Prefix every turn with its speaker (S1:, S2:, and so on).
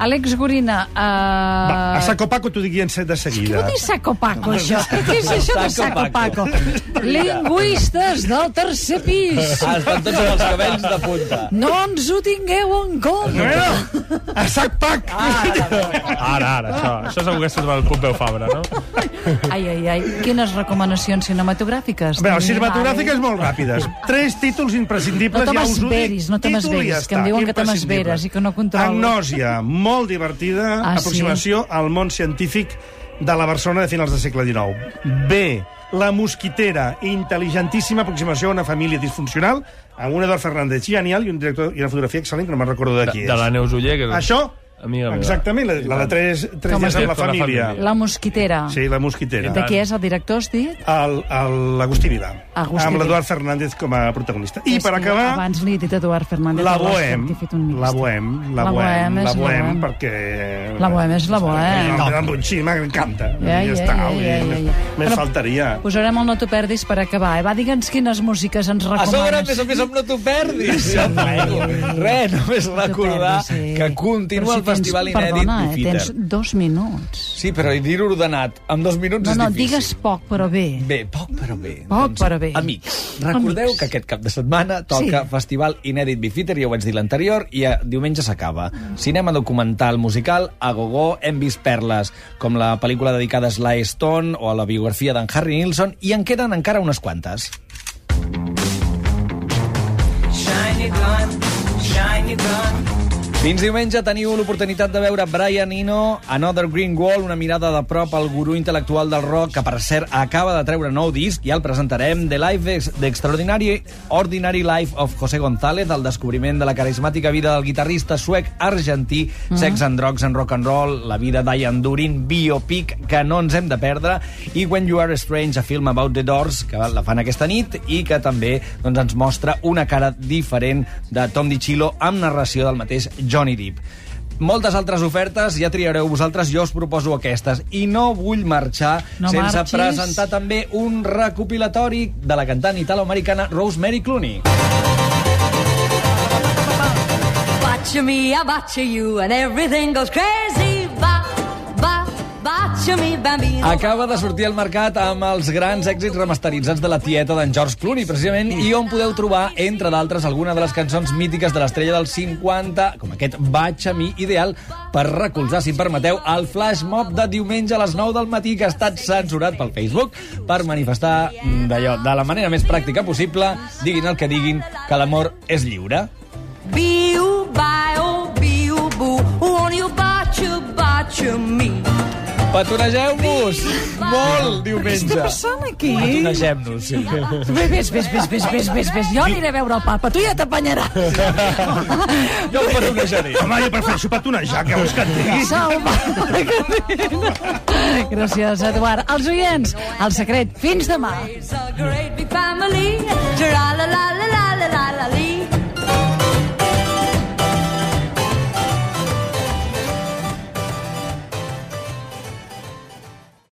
S1: Àlex Gorina... Uh...
S2: Va, a Saco Paco t'ho dic en de
S1: Què
S2: seguida.
S1: vol dir saco paco, això? Què és això de saco
S3: Saco
S1: paco?
S3: paco.
S1: Lingüistes del tercer pis.
S2: Ah.
S3: Espantats amb els cabells de punta.
S1: No ens ho tingueu en compte.
S2: Bueno, a Sac Pac!
S1: Ah,
S4: Ara, ara, això, això segur que surt del Pompeu Fabra, no?
S1: Ai, ai, ai, quines recomanacions cinematogràfiques.
S2: Eh? Bé, les
S1: tenim,
S2: cinematogràfiques molt ràpides. Tres títols imprescindibles,
S1: No te
S2: ja us ho
S1: m'esveris,
S2: dic.
S1: no te
S2: Títol i
S1: m'esveris,
S2: ja
S1: que em
S2: està,
S1: diuen que te
S2: imprescindible.
S1: m'esveres i que no controlo.
S2: Agnòsia, molt divertida,
S1: Ah, sí?
S2: aproximació al món científic de la Barcelona de finals del segle XIX. B, la mosquitera, intel·ligentíssima aproximació a una família disfuncional, amb un Eduard Fernández genial i, un director, i una fotografia excel·lent que no me'n recordo de
S4: De,
S2: qui
S4: de la
S2: és.
S4: Neus Uller, que és
S2: Això,
S4: amiga meva.
S2: exactament, la, la de tres, tres
S1: Com
S2: dies
S1: es diu? Tota
S2: amb la
S4: Con la
S2: família.
S4: família.
S1: La mosquitera.
S2: Sí, la mosquitera.
S1: De qui és el director, has dit?
S2: el- el- l'Agustí Vila,
S1: Agustí
S2: amb
S1: Vila.
S2: l'Eduard Fernández com a protagonista. I
S1: És
S2: per
S1: que
S2: acabar,
S1: Abans li he dit Eduard Fernández.
S2: la
S1: llavors
S2: Bohem,
S1: t'he fet un mix.
S2: la Bohem, la
S1: La
S2: Bohem,
S1: Bohem
S2: la
S1: és la
S2: Bohem,
S1: Bohem.
S2: perquè...
S1: La Bohem és la Bohem.
S2: No, em butxí, m'encanta.
S1: Ja,
S2: I
S1: ja,
S2: ja està,
S1: ja,
S2: vull
S1: ja,
S2: dir,
S1: ja, ja.
S2: més
S1: Però-
S2: faltaria.
S1: Posarem el No t'ho perdis per acabar. Eh? Va, digue'ns quines músiques ens
S3: A sobre, a
S1: recomanes.
S3: més a més, amb no t'ho perdis. Ja et nego. Res, només recordar
S1: T'ho perdis, sí.
S3: que continua
S1: eh, Però si
S3: el festival
S1: tens,
S3: inèdit
S1: perdona, eh,
S3: Bifiter.
S1: Tens dos minuts.
S3: Sí, però dir-ho ordenat, amb dos minuts
S1: No,
S3: és
S1: no,
S3: difícil.
S1: digues poc, però bé.
S3: Bé, poc però bé. Doncs,
S1: Poc, però bé.
S3: Amics, recordeu
S1: Amics.
S3: que aquest cap de setmana toca
S1: Sí.
S3: sí. Festival Inèdit Bifiter, ja ho vaig dir l'anterior, i a, diumenge s'acaba. Cinema documental musical, a Gogó, hem vist perles, com la pel·lícula dedicada a Sly Stone o a la biografia d'en Harry Nilsson, i en queden encara unes quantes.
S5: Shiny gun, shiny gun.
S3: Fins diumenge teniu l'oportunitat de veure Brian Eno, Another Green Wall, una mirada de prop al gurú intel·lectual del rock, que per cert acaba de treure nou disc, i el presentarem, The Life Ex- The Extraordinary Ordinary Life of José González, el descobriment de la carismàtica vida del guitarrista suec argentí, Sex and Drugs and Rock and Roll, la vida d'Ian Durin, biopic, que no ens hem de perdre, i When You Are Strange, a film about the Doors, que la fan aquesta nit, i que també doncs, ens mostra una cara diferent de Tom DiCillo amb narració del mateix Johnny Depp. Moltes altres ofertes, ja triareu vosaltres, jo us proposo aquestes. I no vull marxar
S1: No
S3: sense
S1: marxis.
S3: presentar també un recopilatori de la cantant italoamericana Rosemary Clooney.
S6: Botcha me, I botcha you, and everything goes crazy. Ba, ba, botcha me, bambino.
S3: Acaba de sortir al mercat amb els grans èxits remasteritzats de la tieta d'en George Clooney, precisament, i on podeu trobar, entre d'altres, alguna de les cançons mítiques de l'estrella del 50, com aquest Vaig a mi, ideal per recolzar, si em permeteu, el flash mob de diumenge a les 9 del matí, que ha estat censurat pel Facebook, per manifestar mm, d'allò, de la manera més pràctica possible, diguin el que diguin, que l'amor és lliure.
S6: Biu, bio, biu, oh, boo. Won't you botcha, botcha me?
S3: Petonegeu-vos! Molt,
S1: Què està
S3: diumenge!
S1: passant aquí?
S3: Petonegem-nos, sí.
S1: Bé, Vés, vés, vés, vés, vés, vés, vés. Jo aniré a veure el papa, tu ja t'apanyaràs.
S3: Jo em petonejaré.
S2: Home, jo per fer això petonejar, que vols que et digui?
S1: Salva la cadena. Gràcies, Eduard. Els oients, el secret, fins demà.
S6: It's a great big family. Tra la la la la.